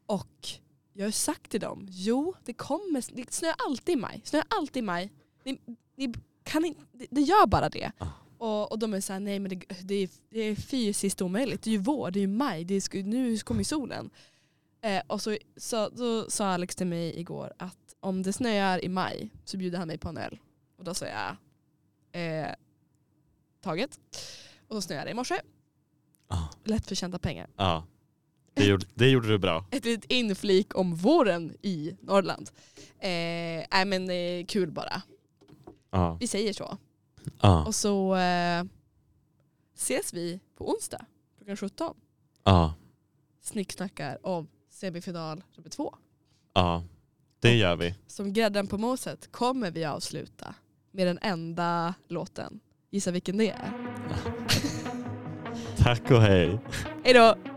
A: Och jag har ju sagt till dem, jo det kommer, det snöar alltid i maj, snöar alltid i maj. Ni, ni kan inte, det, det gör bara det.
B: Ah.
A: Och, och de är såhär, nej men det, det, är, det är fysiskt omöjligt, det är ju vår, det är ju maj, det är, sku- nu kommer ju solen. Eh, och så, så, då sa Alex till mig igår att om det snöar i maj så bjuder han mig på en öl. Och då sa jag eh, taget. Och så snöade det i morse.
B: Ja.
A: Lättförtjänta pengar.
B: ja. Det, gjorde, det gjorde du bra.
A: Ett litet inflik om våren i Norrland. Eh, nej men eh, kul bara.
B: Ja.
A: Vi säger så.
B: Ja.
A: Och så eh, ses vi på onsdag klockan 17.
B: Ja.
A: Snicksnackar om semifinal nummer två.
B: ja. Det gör vi.
A: Som grädden på moset kommer vi avsluta med den enda låten. Gissa vilken det är.
B: Tack och hej.
A: Hej då!